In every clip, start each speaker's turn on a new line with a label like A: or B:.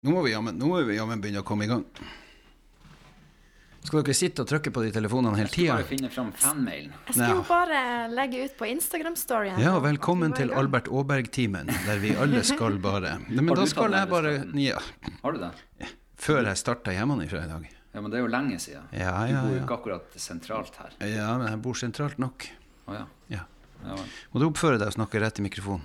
A: Nå må vi jammen nå må vi jammen begynne å komme i gang. Skal dere sitte og trykke på de telefonene hele tida?
B: Bare finne fram fanmailen.
C: Jeg skal
A: Ja.
C: jo bare legge ut på Instagram-storyen.
A: Ja, velkommen
C: Vi var i
A: til
C: gang.
A: Albert Aaberg-timen, der vi alle skal bare Nei, Men
B: Har
A: da
B: du
A: skal
B: tatt
A: jeg bare
B: arbeidsplassen?
A: Ja.
B: Har du det?
A: Før jeg starta hjemmefra i dag.
B: Ja, men det er jo lenge siden.
A: Ja,
B: Du
A: ja,
B: bor jo
A: ja.
B: ikke akkurat sentralt her.
A: Ja, men jeg bor sentralt nok.
B: Å ja.
A: Ja.
B: ja vel.
A: Må du oppføre deg og snakke rett i mikrofonen?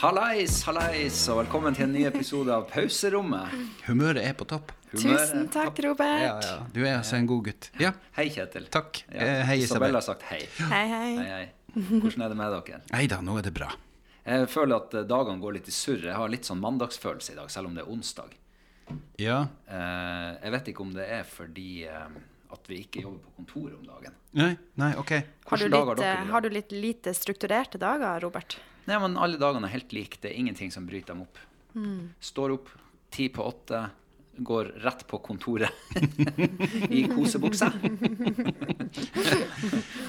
B: Hallais, hallais, og velkommen til en ny episode av Pauserommet.
A: Humøret er på topp.
B: Humøret
C: Tusen takk,
B: topp.
C: Robert.
A: Du er altså en god gutt. Ja,
B: Hei, Kjetil.
A: takk.
B: Ja,
A: Eh, Hei,
B: Isabel
A: Isabel.
B: har sagt hei.
C: Hei, hei.
B: Hei, hei. Hvordan er det med dere?
A: Nei da, nå er det bra.
B: Jeg føler at eh, dagene går litt i surr. Jeg har litt sånn mandagsfølelse i dag, selv om det er onsdag.
A: Ja.
B: Eh, Jeg vet ikke om det er fordi eh, at vi ikke jobber på kontoret om dagen.
A: Nei, nei, ok.
C: Har du,
B: Hvilke dager har
C: litt,
B: dere i
C: eh,
B: dag?
C: har du litt lite strukturerte dager, Robert?
B: Nei, men alle dagene er helt like. Det er ingenting som bryter dem opp.
C: Mm.
B: Står opp ti på åtte, går rett på kontoret i kosebukse,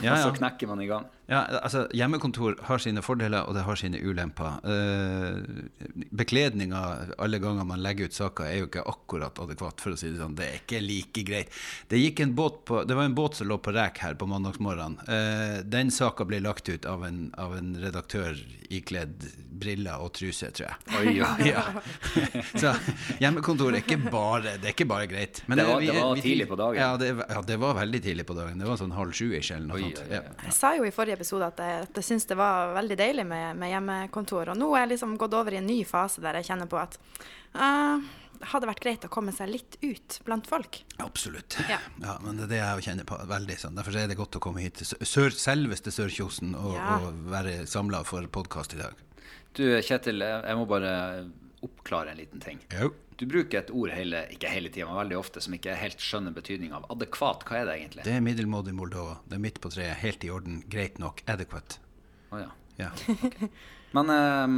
A: Ja,
B: og så
A: ja.
B: knekker man i gang.
A: ja, altså Hjemmekontor har sine fordeler, og det har sine ulemper. Eh, Bekledninga alle ganger man legger ut saker, er jo ikke akkurat adekvat, for å si det sånn. Det er ikke like greit. Det gikk en båt på Det var en båt som lå på rek her på mandagsmorgenen. Eh, Den saka ble lagt ut av en, av en redaktør ikledd briller og truse, tror jeg.
B: Oi, oi.
A: Ja. Så hjemmekontor er ikke bare Det er ikke bare greit. Men eh,
B: Det var- det var tidlig på dagen.
A: Ja det, ja, det var veldig tidlig på dagen. Det var sånn halv sju-ish eller noe
B: Oi,
A: sånt.
B: oi,
A: Ja.
B: oi.
C: Jeg sa jo i forrige episode at jeg, at jeg syns det var veldig deilig med, med hjemmekontor. Og nå er jeg liksom gått over i en ny fase der jeg kjenner på at eh, det hadde vært greit å komme seg litt ut blant folk.
A: Absolutt. Ja.
C: Ja.
A: Men det er det jeg kjenner på veldig. sånn. Derfor er det godt å komme hit til sør, selveste Sørkjosen og,
C: Ja.
A: og være samla for podkast i dag.
B: Du, Kjetil, jeg jeg må bare oppklare en liten ting.
A: Jo.
B: Du bruker et ord hele, ikke hele tiden, men veldig ofte, som ikke jeg helt skjønner betydningen av. Adekvat, hva er det egentlig?
A: Det er middelmådig Moldova. Det er midt på treet. Helt i orden. Greit nok. Adequate.
B: Å, ja.
A: Ja.
B: Men ehm,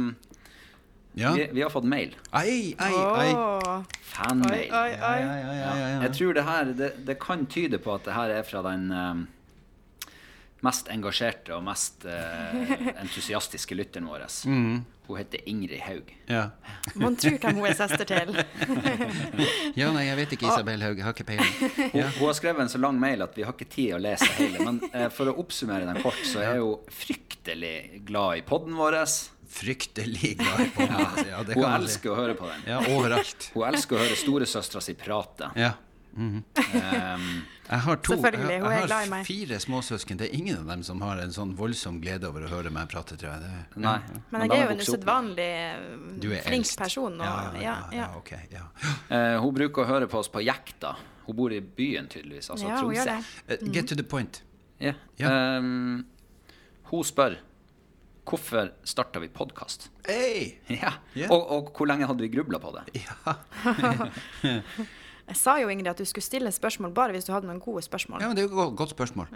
A: ja.
B: vi, vi har fått mail.
A: Ai, ai, ai.
C: Åh, Oi,
B: Fanmail.
C: oi,
A: Ja,
C: oi.
A: ja, ja, ja, ja, ja.
B: Jeg tror det her det, det kan tyde på at det her er fra den eh, mest engasjerte og mest eh, entusiastiske lytteren vår.
A: Mm.
B: Hun heter Ingrid Haug.
A: Ja.
C: Mon tru hvem hun er søster til.
A: ja, nei, jeg vet ikke, Isabel Haug. Jeg har ikke peiling.
B: Hun, hun har skrevet en så lang mail at vi har ikke tid å lese hele. Men eh, for å oppsummere den kort, så er hun fryktelig glad i podden vår.
A: Fryktelig glad i podkast. Ja, det
B: Hun
A: kan man si.
B: elsker å høre på den.
A: Ja, overalt.
B: Hun elsker å høre storesøstera si prate. Ehm,
A: Ja.
B: Em,
A: Jeg har to.
C: Selvfølgelig,
A: jeg,
C: hun
A: jeg
C: er
A: har
C: glad i meg.
A: fire småsøsken. Det er ingen av dem som har en sånn voldsom glede over å høre meg prate, tror jeg. Det,
B: nei.
C: Men
B: da
C: jeg er
B: hun
C: jo en
B: vokser opp-
C: usedvanlig
A: du
C: eh,
A: er
C: flink
A: eldst.
C: person. Og,
A: ja, ja, ja,
C: ja.
A: ja, ok. Ja.
B: Eh, hun bruker å høre på oss på jekta. Hun bor i byen, tydeligvis. Altså
C: ja, hun
B: Tromsø.
C: gjør det.
A: Eh,
C: Mm.
A: Get to the point.
B: Ja.
A: Ja.
B: Ehm, hun spør hvorfor starta vi podkast.
A: Hey!
B: Ja.
A: Ja.
B: Og, og hvor lenge hadde vi grubla på det?
A: Ja.
C: Jeg sa jo, Ingrid, at du skulle stille spørsmål bare hvis du hadde noen gode
A: ja,
C: spørsmål.
A: men det er jo et godt- godt spørsmål.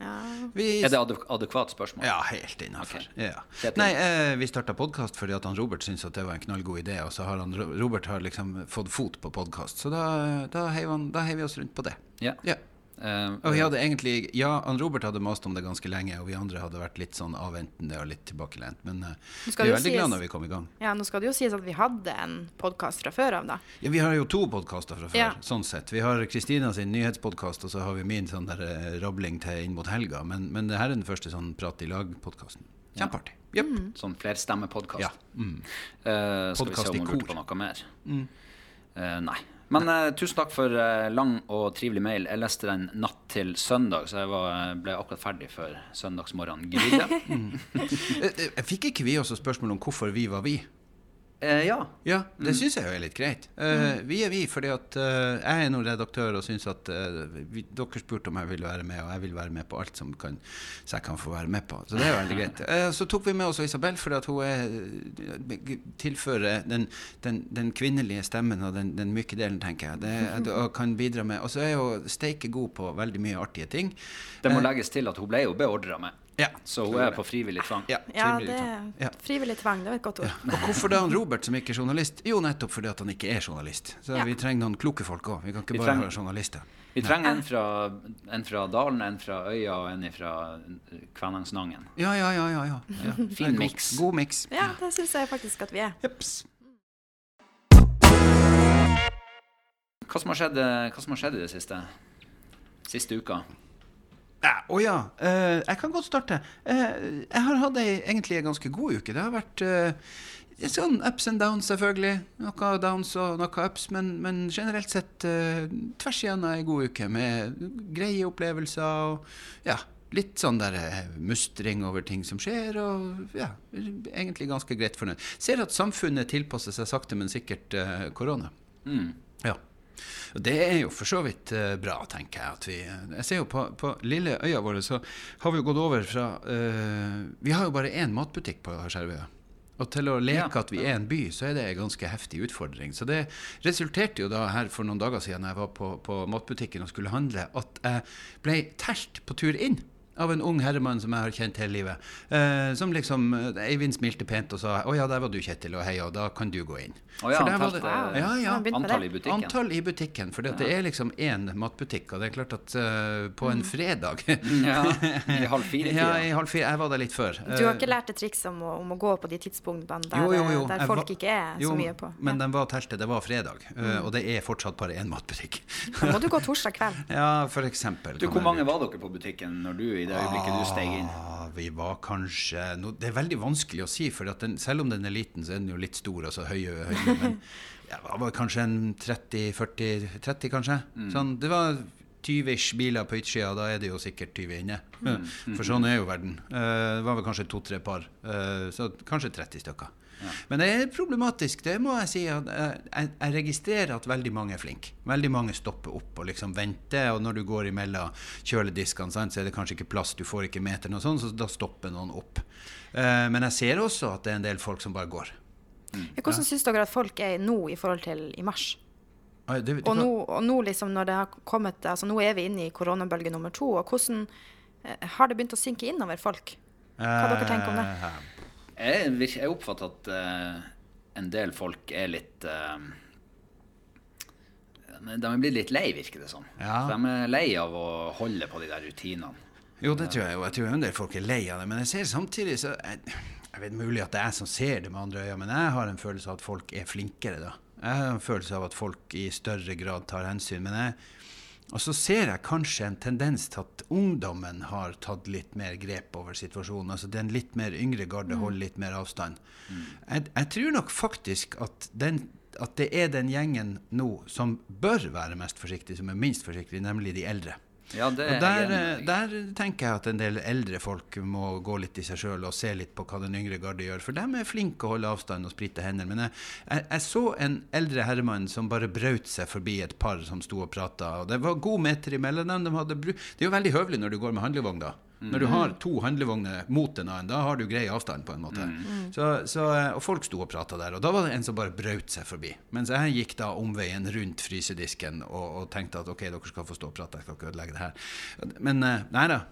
A: Vi
B: Er det adek- adekvat spørsmål?
A: Ja, helt innafor.
B: Ok.
A: Ja.
B: Kjetil?
A: Nei, eh, vi starta podkast fordi at han Robert syntes at det var en knallgod idé, og så har han, Ro- Robert har liksom fått fot på podkast, så da, da, heiv han, da heiv vi oss rundt på det.
B: Ja.
A: Ja.
B: Ehm,
A: Og vi hadde egentlig, ja, han Robert hadde mast om det ganske lenge, og vi andre hadde vært litt sånn avventende og litt tilbakelent, men eh,
C: Nå
A: vi er
C: skal det jo
A: veldig glad
C: sies-
A: når vi kom i gang.
C: Ja, nå skal det jo sies at vi hadde en podkast fra før av, da.
A: Ja, vi har jo to podkaster fra før,
C: Ja.
A: sånn sett. Vi har Kristina sin nyhetspodkast, og så har vi min sånn der eh, rabling til inn mot helga, men, men det her er den første sånn prat i lag-podkasten. Kjempeartig. Jepp.
C: Mm.
B: Sånn flerstemmepodkast.
A: Ja. Mm.
B: Eh, skal vi
A: Podcast
B: se om
A: i
B: hun lurte
A: kor. Mm.
B: på noe mer? Eh, nei. Men eh, tusen takk for eh, lang og trivelig mail. Jeg leste den natt til søndag, så jeg var, eh, ble akkurat ferdig før søndagsmorgenen grydde.
A: Eh, eh, Fikk ikke vi også spørsmål om hvorfor vi var vi?
B: Eh, ja.
A: Ja, det syns jeg jo er litt greit. Eh, vi er vi fordi at eh, jeg er nå redaktør og syns at eh, vi, Dere spurte om jeg ville være med, og jeg vil være med på alt som kan, så jeg kan få være med på. Så det er veldig greit. Eh, så tok vi med også Isabel fordi at hun er, tilfører den, den, den kvinnelige stemmen og den, den myke delen, tenker jeg. Det, er- og kan bidra med. Og så er hun steike god på veldig mye artige ting. Eh,
B: Det må legges til at hun ble jo beordra med.
A: Ja.
B: Så hun er på frivillig tvang.
A: ja.
C: Ja,
A: frivillig
C: det
A: tvang. ja.
C: Frivillig tvang, det var et godt ord.
A: Og hvorfor da han Robert som ikke er journalist? Jo, nettopp fordi at han ikke er journalist. Så
C: Ja.
A: vi trenger noen kloke folk òg. Vi kan ikke
B: Vi
A: bare
B: trenger-
A: ha journalister.
B: Vi trenger en fra, en fra Dalen, en fra Øya og en fra eh, Kvænangsnangen.
A: Ja, ja, ja. ja, ja. ja.
B: Fin
A: En god-
B: mix.
A: God miks.
C: Ja, det syns jeg faktisk at vi er.
A: Jeps.
B: Hva som har skjedd, eh, hva som har skjedd i det siste? Siste uka?
A: Å ja. eh, jeg kan godt starte. Eh, jeg har hatt ei egentlig ei ganske god uke. Det har vært eh, litt sånn ups and downs, selvfølgelig. Noe downs og noe ups, men, men generelt sett eh, tvers igjennom ei god uke med greie opplevelser og ja, litt sånn der eh, mustring over ting som skjer, og ja, egentlig ganske greit fornøyd. Ser at samfunnet tilpasser seg sakte, men sikkert eh, korona.
B: Mm.
A: Ja. Og det er jo for så vidt eh, bra, tenker jeg. At vi, jeg ser jo på, på lille øya vår, så har vi jo gått over fra eh, Vi har jo bare én matbutikk på Skjervøya. Og til å leke
B: Ja.
A: at vi er en by, så er det en ganske heftig utfordring. Så det resulterte jo da her for noen dager siden, da jeg var på, på matbutikken og skulle handle, at jeg ble telt på tur inn. Av en ung herremann som jeg har kjent hele livet. Eh, som liksom, eh, Eivind smilte pent og sa 'Å ja, der var du, Kjetil, og hei, og da kan du gå inn'.
B: Å
A: For
B: ja, han
A: der var
B: telte
A: det- ja, ja.
C: Han begynte med
B: antall i
C: det.
B: butikken.
A: Antall i butikken, for det er liksom én matbutikk. Og det er klart at eh, på en fredag
B: Ja, I halv Mm. fire?
A: Ja,
B: tida.
A: i halv fire. Jeg var der litt før. Eh,
C: Du har ikke lært et triks om å, om å gå på de tidspunktene der, eh, der
A: jeg
C: folk
A: var-
C: ikke er
A: jo,
C: så mye på? Mm.
A: Men den var teltet, det var fredag, eh, og det er fortsatt bare én matbutikk.
C: Da må du gå torsdag kveld.
A: ja, for eksempel.
B: Du,
A: kan
B: hvor
A: jeg
B: mange
A: bruke.
B: var dere på butikken når du, i det øyeblikket du steg inn?
A: Ah, vi var kanskje no, Det er veldig vanskelig å si, for at den, selv om den er liten, så er den jo litt stor. altså høye, høye Men ja, det var kanskje en 30-40 30, kanskje.
B: Mm.
A: Sånn, det var 20-ish biler på utsida, da er det jo sikkert 20 inne.
B: Mm,
A: For sånn er jo verden. Eh, det var vel kanskje to-tre par. eh, så kanskje 30 stykker. Men det er problematisk, det må jeg si. At jeg, jeg, jeg registrerer at veldig mange er flinke. Veldig mange stopper opp og liksom venter. Og når du går imellom kjølediskene, sant, så er det kanskje ikke plass, du får ikke meteren og sånn, så da stopper noen opp. Eh, men jeg ser også at det er en del folk som bare går.
C: Hvordan syns dere at folk er nå i forhold til i mars?
A: Oi, det-
C: Og nå, og nå liksom når det har kommet, altså nå er vi inne i koronabølge nummer to, og hvordan eh, har det begynt å synke innover folk? Hva dere tenker om det?
A: Eh,
B: Jeg, vir- jeg oppfatter at eh, en del folk er litt eh, men De blir litt lei, virker det som.
A: Ja.
B: De er lei av å holde på de der rutinene.
A: Jo, det tror jeg jo. Jeg tror en del folk er lei av det. Men jeg ser samtidig så Jeg, jeg vet mulig at det er jeg som ser det med andre øyne, men jeg har en følelse av at folk er flinkere da. Jeg har en følelse av at folk i større grad tar hensyn. Men jeg Og så ser jeg kanskje en tendens til at ungdommen har tatt litt mer grep over situasjonen. Altså den litt mer yngre garde holder litt mer avstand. Jeg, jeg tror nok faktisk at den at det er den gjengen nå som bør være mest forsiktig, som er minst forsiktig, nemlig de eldre.
B: Ja, det
A: Og
B: er jeg
A: der,
B: enig med deg.
A: der tenker jeg at en del eldre folk må gå litt i seg sjøl og se litt på hva den yngre garde gjør. For de er flinke å holde avstand og sprite hender. Men jeg, jeg, jeg så en eldre herremann som bare brøt seg forbi et par som sto og prata. Og det var god meter imellom dem. De hadde bru det er jo veldig høvelig når du går med handlevogn, da. Når du har to handlevogner mot en annen, da har du grei avstand, på en måte.
C: Mm.
A: Så, så, eh, og folk sto og prata der, og da var det en som bare brøt seg forbi. Mens jeg gikk da omveien rundt frysedisken og, og tenkte at ok, dere skal få stå og prate, jeg skal ikke ødelegge det her. Men eh, nei da.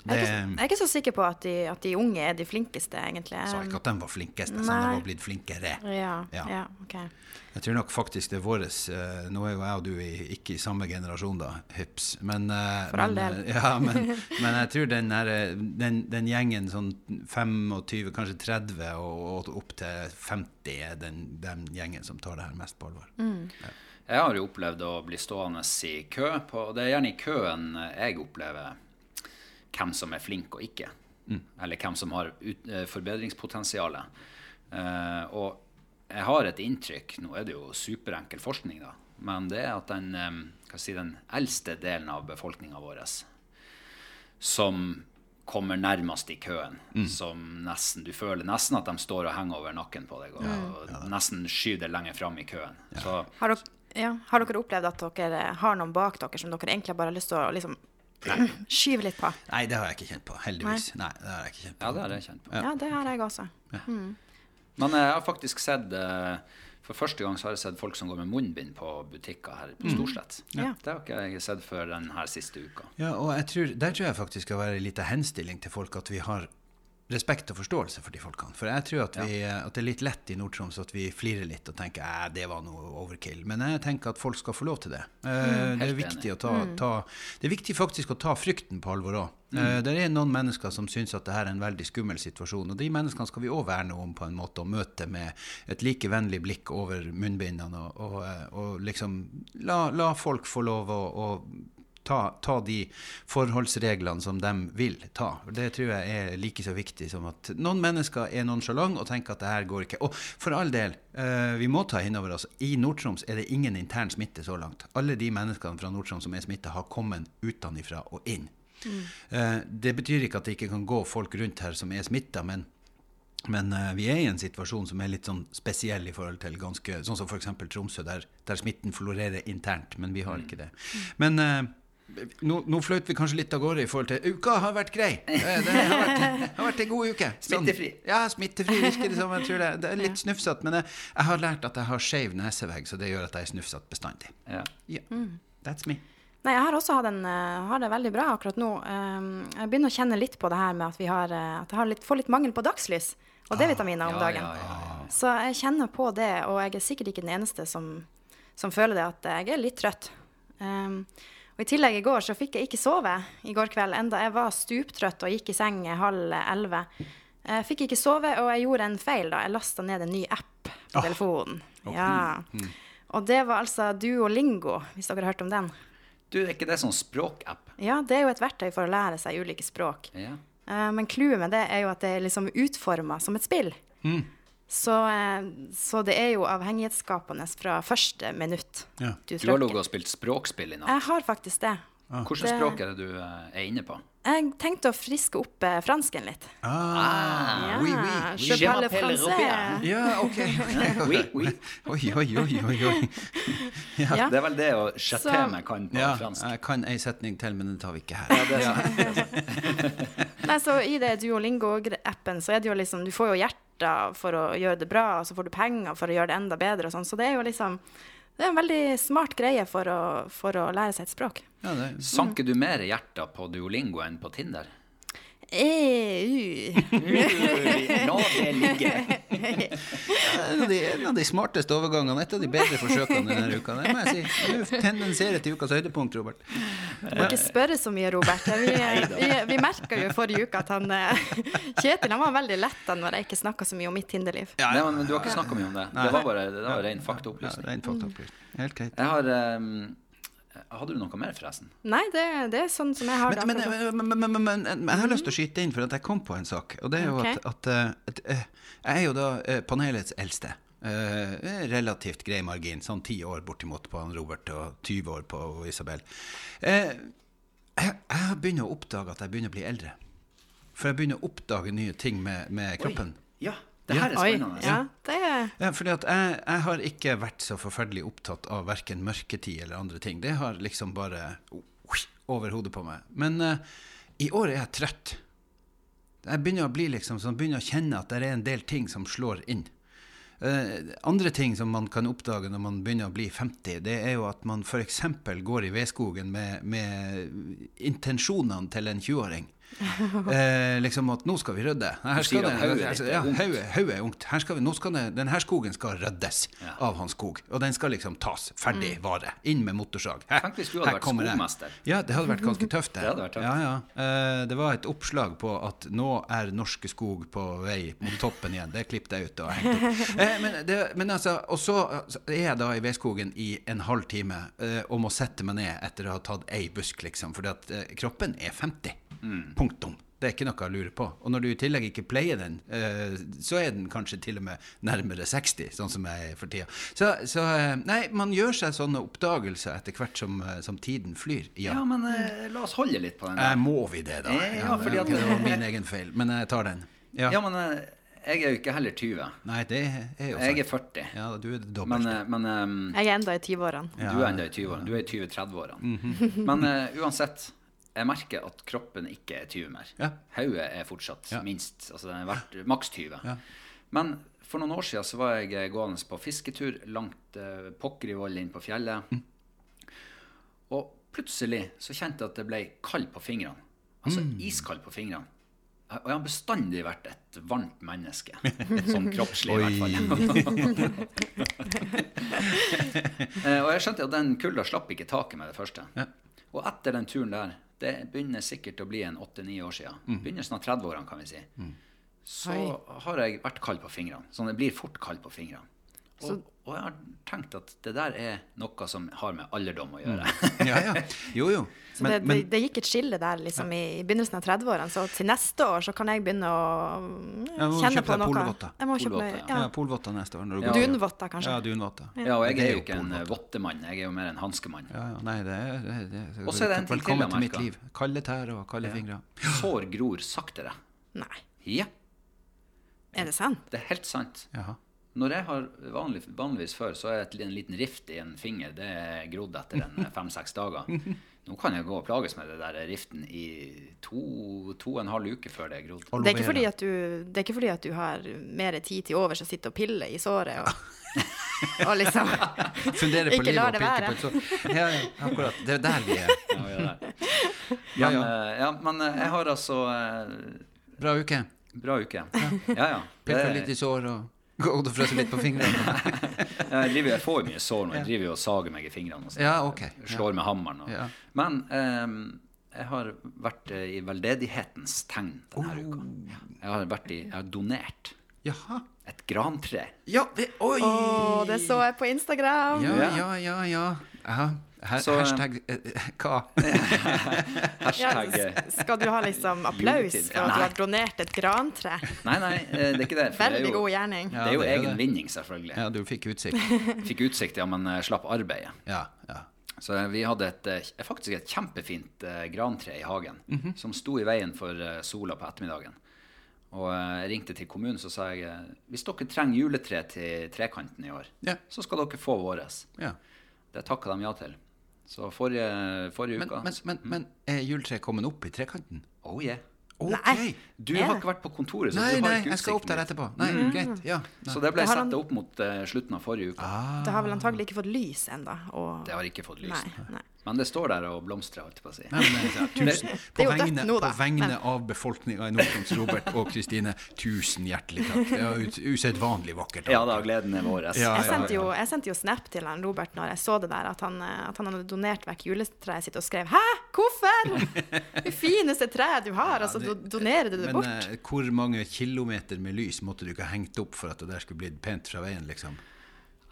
C: Jeg
A: Det
C: er, ikke, jeg er ikke så sikker på at de, at de unge er de flinkeste, egentlig. Um,
A: sa ikke at de var flinkest, jeg sa de
C: Nei.
A: var blitt flinkere.
C: Ja,
A: Ja.
C: ja. ok.
A: Jeg tror nok faktisk det er våres eh, Nå er jo jeg og du i, ikke i samme generasjon, da, hyps. Men, eh,
C: For all
A: men,
C: del.
A: eh, Ja, men, men jeg tror den, her, eh, den, den gjengen sånn 25, kanskje 30 og, og opp til 50 er den, den gjengen som tar det her mest på alvor.
C: Mm.
B: Jeg har jo opplevd å bli stående i kø. På, det er gjerne i køen jeg opplever hvem som er flink og ikke. Eller hvem som har ut, eh, forbedringspotensial. Eh, og jeg har et inntrykk Nå er det jo superenkel forskning, da. Men det er at den, eh, hva skal jeg si, den eldste delen av befolkninga vår som kommer nærmest i køen, som nesten Du føler nesten at de står og henger over nakken på deg, og, og nesten skyver deg lenger fram i køen. Så
C: Har dere, ja, har dere opplevd at dere har noen bak dere som dere egentlig bare har lyst til å liksom skyve litt på?
A: Nei, det har jeg ikke kjent på, heldigvis. Nei, det har jeg ikke kjent på.
B: Ja, det har jeg kjent på.
C: Ja, det har jeg også.
B: Men jeg har faktisk sett eh, for For første gang så har jeg sett folk som går med munnbind på butikker her på Storslett.
C: Ja.
B: Det har ikke jeg sett før den her siste uka.
A: Ja, og jeg tror, Der tror jeg faktisk skal være en liten henstilling til folk at vi har respekt og forståelse for de folkene. For jeg tror at, vi, at det er litt lett i Nord-Troms at vi flirer litt og tenker at det var noe overkill. Men jeg tenker at folk skal få lov til det. Eh, det, er
B: helt
A: viktig å ta, ta, det er viktig faktisk å ta frykten på alvor òg. det er noen mennesker som syns at det her er en veldig skummel situasjon. Og de menneskene skal vi òg verne om på en måte, og møte med et like vennlig blikk over munnbindene. Og, og, eh, og liksom la, la folk få lov å, å ta, ta de forholdsreglene som de vil ta. Det tror jeg er like så viktig som at noen mennesker er nonsjalante og tenker at det her går ikke. Og for all del, eh, vi må ta innover oss, i Nord-Troms er det ingen intern smitte så langt. Alle de menneskene fra Nord-Troms som er smitta, har kommet utenfra og inn. Eh, det betyr ikke at det ikke kan gå folk rundt her som er smitta, men men eh, vi er i en situasjon som er litt sånn spesiell i forhold til ganske Sånn som f.eks. Tromsø, der, der smitten florerer internt, men vi
B: Mm.
A: har ikke det. Men eh, nå, nå fløyt vi kanskje litt av gårde i forhold til Uka har vært grei! Eh, Det har vært, har vært en god uke. Sånn.
B: Smittefri.
A: Ja, smittefri virker det som. Jeg tror det, det er litt snufsete. Men jeg, jeg har lært at jeg har skeiv nesevegg, så det gjør at jeg er snufsete bestandig.
B: Ja.
A: Ja,
B: Mm.
A: that's me.
C: Nei, jeg har også hatt en, eh, har det veldig bra akkurat nå. Eh, Jeg begynner å kjenne litt på det her med at, vi har, eh, at jeg har litt, får litt mangel på dagslys og D-vitaminer om
B: ja,
C: dagen.
B: ja, ja,
C: Så jeg kjenner på det, og jeg er sikkert ikke den eneste som, som føler det, at jeg er litt trøtt. Eh, og I tillegg i går så fikk jeg ikke sove i går kveld, enda jeg var stuptrøtt og gikk i seng halv elleve. Jeg fikk ikke sove, og jeg gjorde en feil da. Jeg lasta ned en ny app på telefonen. Ja. Og det var altså Duolingo, hvis dere har hørt om den.
B: Du, er ikke det sånn språkapp?
C: Ja, det er jo et verktøy for å lære seg ulike språk.
B: Ja.
C: Eh, Men clouet med det er jo at det er liksom utforma som et spill.
A: Mm.
C: Så, eh, så det er jo avhengighetsskapende fra første minutt.
A: Ja.
B: Du har
C: trykker.
B: ligget og spilt språkspill i natt.
C: Jeg har faktisk det.
B: Hvilket språk er det du eh, er inne på?
C: Jeg tenkte å friske opp eh, fransken litt.
A: Ah,
C: Ja,
A: oui, oui.
C: je
B: Je
C: parle
B: m'appelle
C: français.
B: Robert.
A: Ja, ok.
B: Oui, oui.
A: Oi, oi, oi, oi. oi.
C: Ja.
B: Det er vel det å chatte
C: Så-
B: meg kan på
A: Ja,
B: fransk.
A: jeg kan ei setning til, men den tar vi ikke her.
C: Nei, så I det Duolingo-appen så er det jo liksom Du får jo hjerter for å gjøre det bra, og så får du penger for å gjøre det enda bedre og sånn. Så det er jo liksom Det er en veldig smart greie for å, for å lære seg et språk.
A: Ja, det,
B: Sanker du mer hjerter på Duolingo enn på Tinder?
C: EU.
B: Nå det ligger.
A: en, av de, en av de smarteste overgangene, et av de bedre forsøkene denne uka. Det må jeg si. Du tendenserer til ukas høydepunkt, Robert.
C: Må ikke spørre så mye, Robert. Vi, vi, vi merka jo i forrige uke at han eh, Kjetil han var veldig letta når jeg ikke snakka så mye om mitt Tinder-liv.
B: Nei, men du har ikke snakka mye om det. Det var bare det var ren faktaopplysning.
A: Rein faktaopplysning. Helt greit.
B: Jeg har ehm, Hadde du noe mer, forresten?
C: Nei, det, det er sånn som jeg har det.
A: Men, men,
C: akkurat nå.
A: men, men, men, men, men jeg har lyst til å skyte inn, for at jeg kom på en sak. Og det er jo at, at eh, et, eh, Jeg er jo da eh, panelets eldste. Eh, relativt grei margin, sånn ti år bortimot på han Robert og 20 år på Isabel. Eh, jeg, jeg begynner å oppdage at jeg begynner å bli eldre. For jeg begynner å oppdage nye ting med, med kroppen.
B: Ja, det her er
C: Oi,
B: spennende.
C: ja, det er
A: Ja, fordi at jeg, jeg har ikke vært så forferdelig opptatt av verken mørketid eller andre ting. Det har liksom bare over hodet på meg. Men eh, i år er jeg trøtt. Jeg begynner å bli liksom sånn, begynner å kjenne at det er en del ting som slår inn. Eh, andre ting som man kan oppdage når man begynner å bli 50, det er jo at man f.eks. går i vedskogen med, med intensjonene til en 20-åring. Eh, liksom at 'nå skal vi rydde'. Her skal
B: sier
A: det, altså,
B: at hodet ditt er
A: ja,
B: ungt.
A: hodet hodet er ungt. Her skal vi, nå skal det, den her skogen skal ryddes av hans skog. Og den skal liksom tas. Ferdig vare. Inn med motorsag. Her,
B: Tenk hvis Mm. du hadde
A: her
B: vært
A: kommer jeg.
B: skogmester.
A: Ja, det hadde vært ganske tøft.
B: Det hadde vært tøft.
A: Ja, ja. Eh, det var et oppslag på at nå er norske skog på vei mot toppen igjen. Det klippet jeg ut og hengte opp. Eh, men, det, men altså, og så er jeg da i vedskogen i en halv time eh, og må sette meg ned etter å ha tatt ei busk, liksom. Fordi at eh, kroppen er 50. Punktum. Det er ikke noe å lure på. Og når du i tillegg ikke pleier den, eh, så er den kanskje til og med nærmere 60, sånn som jeg er for tida. Så, så eh, nei, man gjør seg sånne oppdagelser etter hvert som, eh, som tiden flyr.
B: Ja, men eh, la oss holde litt på den.
A: Eh, må vi det, da?
B: Eh, ja, fordi at-
A: Det var min egen feil, men jeg tar den. Ja.
B: Ja, men eh, jeg er jo ikke heller 20.
A: Nei, det er jo sant.
B: Jeg er 40.
A: Ja, du er det
B: Men,
A: dobbelte.
B: eh, men ehm,
C: Jeg er enda i 20-årene.
B: du er enda i 20-årene. Du er i 20-30-årene.
A: Mhm.
B: Men eh, uansett, jeg merker at kroppen ikke er 20 mer.
A: Ja.
B: Hodet er fortsatt
A: Ja.
B: minst altså den er verdt, maks 20. Men For noen år siden så var jeg eh, gående på fisketur langt eh, pokker i vold inn på fjellet.
A: Mm.
B: Og plutselig så kjente jeg at det ble kald på fingrene. Altså
A: Mm.
B: iskald på fingrene. Og jeg har bestandig vært et varmt menneske. Sånn kroppslig, i hvert fall. Eh, og jeg skjønte at den kulda slapp ikke taket med det første. Og etter den turen der, det begynner sikkert å bli en åtte-ni år siden, begynnelsen av 30-årene, kan vi si, så har jeg vært kald på fingrene. Sånn, jeg blir fort kald på fingrene. Og, og jeg har tenkt at det der er noe som har med alderdom å gjøre.
A: Ja, ja. Jo, jo.
C: Så det, det, det gikk et skille der liksom, i, i begynnelsen av 30-årene. Så til neste år så kan jeg begynne å mm,
A: Ja, må
C: kjenne
A: kjøpe
C: på
A: deg
C: noe.
A: polvotter.
C: Jeg må kjøpe meg
B: Polvotter,
A: ja,
C: ja.
A: polvotter neste år. Når du
B: Ja.
A: går.
C: Dunvotter, kanskje.
A: Ja, dunvotter.
B: Ja, og jeg
A: Det
B: er
A: er
B: jo
A: jo
B: ikke en eh, vottemann, jeg er jo mer en hanskemann.
A: Ja, ja, nei, det er, det, det, det-
B: Og så er det en ting til
A: Velkommen
B: jeg
A: til mitt
B: merker.
A: liv. Kalde tær og kalde fingre.
B: Sår gror saktere.
C: Nei,
B: Ja,
C: er det sant?
B: det er helt sant.
A: Jaha.
B: Når jeg har vanlig, vanligvis før, så er et, en liten rift i en finger det er grodd etter en fem-seks dager. Nå kan jeg gå og plages med det der riften i to, to og en halv uke før det er grodd.
C: Det er, ikke fordi at du, det er ikke fordi at du har mer tid til overs å sitte og pille i såret og, og liksom
A: Fundere på
C: Ikke
A: livet
C: lar
A: og
C: det
A: pirke
C: være.
A: på et så Ja, ja, akkurat. Det er der vi er.
B: Ja, vi er der.
A: Ja,
B: Men,
A: ja.
B: eh, ja, men eh, jeg har altså eh,
A: Bra uke.
B: Bra uke. Ja, ja.
A: Pirke litt
B: Det,
A: i sår og gå og frøse litt på fingrene.
B: jeg, driver, jeg får jo mye sår nå. Jeg driver jo og sager meg i fingrene. Og sånt.
A: Ja, ok. Ja.
B: Slår med hammeren. Og.
A: Ja.
B: Men ehm, jeg har vært eh, i veldedighetens tegn denne
A: Oh.
B: uka. Jeg har, vært i, jeg har donert
A: Jaha.
B: et grantre.
A: Ja, det, oi!
C: Å, det så jeg på Instagram!
A: Ja, ja, ja, ja. ja. Her,
B: Så, eh,
A: hashtag eh, eh, hva?
C: Ja,
B: Hashtag eh,
C: s- skal du ha liksom applaus
B: Juletid.
C: for at du
B: Nei.
C: har donert et grantre?
B: Nei, nei, eh, det er ikke det. For det er
C: Veldig
B: jo,
C: god gjerning.
B: det er jo
A: Ja, det er
B: egen
A: det.
B: vinning, selvfølgelig.
A: Ja, du fikk utsikt.
B: Fikk utsikt, ja, men eh, slapp arbeidet.
A: Ja, ja.
B: Så vi hadde et, eh, faktisk et kjempefint eh, grantre i hagen
A: Mhm.
B: som sto i veien for eh, sola på ettermiddagen. Og eh, jeg ringte til kommunen så sa jeg eh, hvis dere trenger juletre til trekanten i år,
A: Ja.
B: så skal dere få våres.
A: ja.
B: Det takka de ja til. Så forrige, forrige
A: Men,
B: uka
A: men, men, men er juletreet kommet opp i trekanten?
B: Oh yeah.
A: Ok.
C: Nei.
B: Du
C: Er
B: har
C: det?
B: ikke vært på kontoret, så
A: Nei,
B: du har
A: nei,
B: ikke
A: jeg skal opp
B: utsikten
A: der
B: dit.
A: etterpå. Nei,
C: Mm.
A: greit. Ja. Nei. Ah.
B: Så det ble
C: Det har
B: satt
C: han-
B: opp mot eh, slutten av forrige uke.
C: Det har vel antagelig ikke fått lys ennå.
B: Det har ikke fått lys.
C: Nei, nei.
B: Men det står der og blomstrer, holdt jeg på å si.
A: Nei, men, ja, tusen, på
C: Det er jo dødt
A: vegne,
C: nå,
A: på
C: da.
A: vegne av befolkninga i Nord-Troms, Robert og Kristine, tusen hjertelig takk. Det var ut- usedvanlig vakkert.
B: Ja da, gleden er vår.
A: Ja,
C: Jeg sendte, jo, jeg sendte jo snap til han Robert når jeg så det der, at han, eh, at han hadde donert vekk juletreet sitt og skrev 'Hæ, hvorfor?!' Det fineste treet du har, altså do, donerer du
A: Men
C: det bort?
A: eh, hvor mange kilometer med lys måtte du ikke ha hengt opp for at det der skulle blitt pent fra veien, liksom?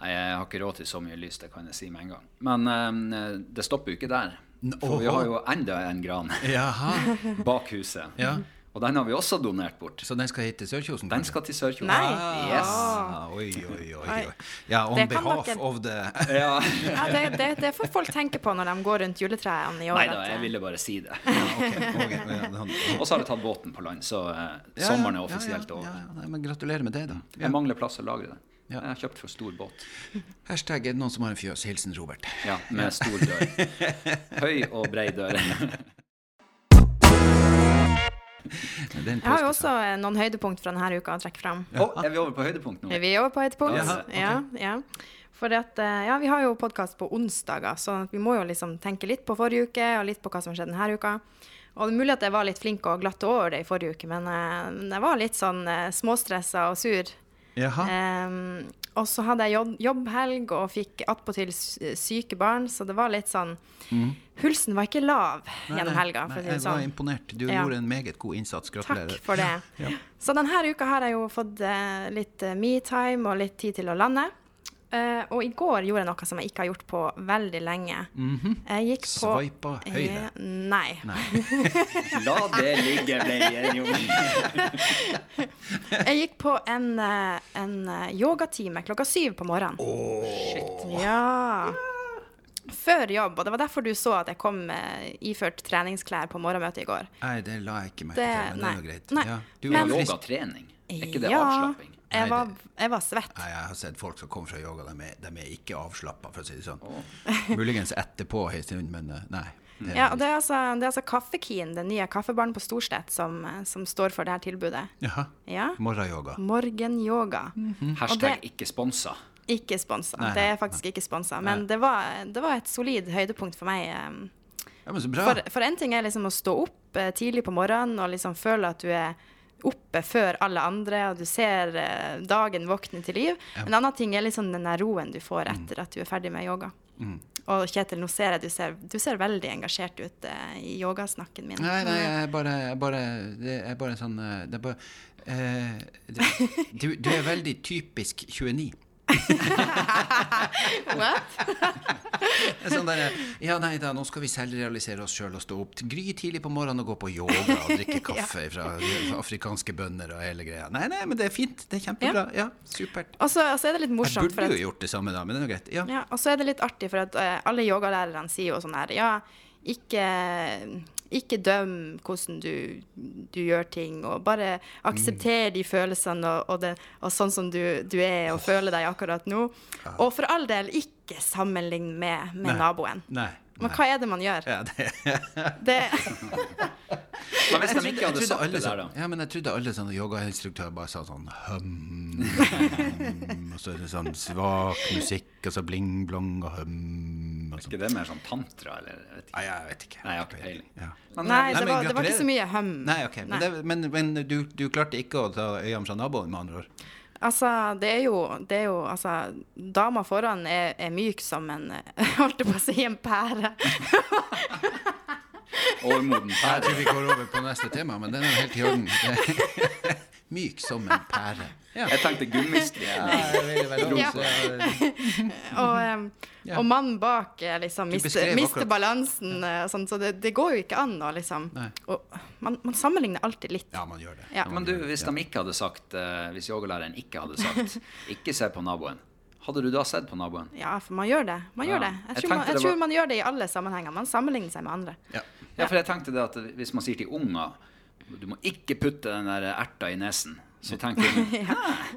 B: Nei, jeg har ikke råd til så mye lys, det kan jeg si med en gang. Men eh, det stopper jo ikke der.
A: N-
B: For vi
A: åhå.
B: har jo enda en gran
A: Jaha.
B: bak huset.
A: Ja.
B: Og den har vi også donert bort.
A: Så den skal hit til Sørkjosen?
B: Den
A: kanskje?
B: skal til Sørkjosen.
C: Nei.
B: Yes.
A: Ah, oi, oi, oi, oi. Ja, on
C: Det kan
A: behalf
C: dere-
A: of the
B: Ja.
C: Ja, det, det, det får folk tenke på når de går rundt juletrærne i år.
B: Nei da,
C: at, eh,
B: jeg ville bare si det.
A: Ok, ok, ja, han-
B: Og så har jeg tatt båten på land, så eh,
A: Ja, ja,
B: sommeren
A: ja,
B: er offisielt
A: ja,
B: over.
A: ja, ja, nei, men gratulerer med det, da. Ja.
B: Jeg mangler plass å lagre det.
A: Ja.
B: Jeg har kjøpt for stor båt.
A: Hashtag er det noen som har en fjøs. Hilsen Robert.
B: Ja, med stor dør. Høy og brei dør.
A: Den
C: jeg har jo også eh, noen høydepunkt fra denne uka å trekke fram.
B: Å, er vi over på høydepunkt nå?
C: Er vi over på høydepunkt?
B: Jaha,
A: ok.
C: Ja, ja. For at, eh, ja, vi har jo podkast på onsdager, så vi må jo liksom tenke litt på forrige uke og litt på hva som har skjedd denne uka. Og det er mulig at jeg var litt flink og glatt over det i forrige uke, men eh, men jeg var litt sånn eh, småstressa og sur.
A: Jaha.
C: Ehm, og så hadde jeg jobb, jobbhelg og fikk attpåtil s- syke barn, så det var litt sånn Hulsen var ikke lav
A: Mm. Nei,
C: gjennom
A: nei,
C: helga,
A: nei,
C: for å si
A: Jeg
C: det
A: var
C: sånn.
A: imponert. Du
C: Ja.
A: gjorde en meget god innsats. Gratulerer.
C: Takk for det. Så denne uka har jeg jo fått eh, litt eh, me-time og litt tid til å lande. Eh, og i går gjorde jeg noe som jeg ikke har gjort på veldig lenge. Jeg gikk på
A: Mhm. Sveipa høyre.
C: Eh, Nei.
B: La det ligge, ble vi enige om.
C: Jeg gikk på en, eh, en eh, yogatime klokka syv på morgenen. Ja. Før jobb, og det var derfor du så at jeg kom eh, iført treningsklær på morgenmøtet i går.
A: Nei, det la jeg ikke merke til,
C: Det-
A: men det er
C: nei.
A: nå greit.
C: Nei.
A: Ja, du
C: Men-
A: var frisk.
B: Yogatrening. Er ikke det
C: ja,
B: avslapping?
A: Nei,
C: Jeg var,
A: det-
C: jeg var svett.
A: Nei, jeg har sett folk som kommer fra yoga, de er, de er ikke avslappa, for å si det sånn. Muligens etterpå en stund, men eh, nei.
C: Ja, og det er altså, det er altså Kaffekien, den nye kaffebaren på Storstedt, som, eh, som står for det her tilbudet.
A: Jaha.
C: Ja.
A: Morgenyoga.
C: Morgenyoga.
B: Hashtag
C: Og det-
B: ikke sponsa.
C: Ikke sponsa.
A: Mhm. Nei,
C: Det
A: nei,
C: er faktisk ikke sponsa. Men det var, det var et solid høydepunkt for meg. eh,
A: Ja, men så bra.
C: For, for en ting er liksom å stå opp eh, tidlig på morgenen og liksom føle at du er oppe før alle andre, og du ser eh, dagen våkne til liv. En annen ting er liksom den der roen du
A: Mm.
C: får etter at du er ferdig med yoga. Og Kjetil, nå ser jeg du ser, du ser veldig engasjert ut eh, i yogasnakken min. Mm.
A: Nei, nei, jeg bare, jeg bare Det er bare sånn eh, Det er bare eh, det, du, du er veldig typisk 29.
C: What?
A: Det er Sånn der, ja, nei da, nå skal vi selvrealisere oss sjøl og stå opp til gry tidlig på morgenen og gå på yoga og drikke kaffe fra afrikanske bønder og hele greia. Nei, nei, men det er fint. Det er kjempebra. Ja, supert.
C: Og så og så er det litt
A: Jeg
C: morsomt. for
A: burde
C: at-
A: jo gjort det samme da, men det er jo greit. Ja.
C: Ja, og så er det litt artig, for at eh, alle yogalærerne sier jo sånn her Ja, ikke, ikke døm hvordan du, du gjør ting, og bare aksepter de følelsene og, og, det, og sånn som du, du er og føler deg akkurat nå. Og for all del, ikke sammenlign med, med naboen.
A: Nei.
C: Men hva er det man gjør?
A: Ja, det,
C: Det,
B: Men hvis
A: jeg,
B: de
A: trodde,
B: ikke
A: jeg,
B: hadde
A: trodde
B: sagt
A: alle
B: det der,
A: sånn,
B: da?
A: ja, men jeg trodde alle sånne yogainstruktører bare sa sånn hum, hum, og så er det sånn svak musikk, og så bling-blong og hum og
B: Er ikke
A: sånn.
B: det mer sånn tantra, eller? Jeg vet ikke.
A: Nei, jeg vet ikke.
B: Nei, jeg har ikke peiling.
A: Ja.
B: Men,
C: nei,
A: Nei,
C: det
A: men
C: var, det var ikke så mye hum.
A: Nei, ok. Men, det, men, men du, du klarte ikke å ta øynene fra naboen, med andre ord?
C: Altså, det er jo, det er jo Altså, dama foran er, er myk som en eh, Holdt jeg på å si en pære.
B: Overmoden
A: Jeg tror
B: pære.
A: vi går over på neste tema, men den er jo helt i orden. Myk som en pære. Ja.
B: Jeg tenkte gummiskri.
A: Jeg vil vel
C: Ja.
A: rose, eh,
C: Og, em, og mannen bak eh, liksom,
A: Du
C: mister,
A: beskrev
C: mister
A: akkurat-
C: balansen, eh, og sånt, så det, det går jo ikke an å liksom
A: Nei.
C: og, man, man sammenligner alltid litt.
A: Ja, man gjør det.
C: Ja.
B: Men du, hvis de ikke hadde sagt eh, Hvis yogalæreren ikke hadde sagt 'ikke se på naboen', hadde du da sett på naboen?
C: Ja, for man gjør det. Man
B: Ja.
C: gjør det. Jeg
B: Jeg
C: tror, man,
B: tenkte
C: jeg
B: det
C: tror
B: var-
C: man gjør det i alle sammenhenger. Man sammenligner seg med andre.
A: Ja.
B: Ja, for jeg tenkte det at hvis man sier til unger 'du må ikke putte den der erta i nesen', så tenker de «Hæ,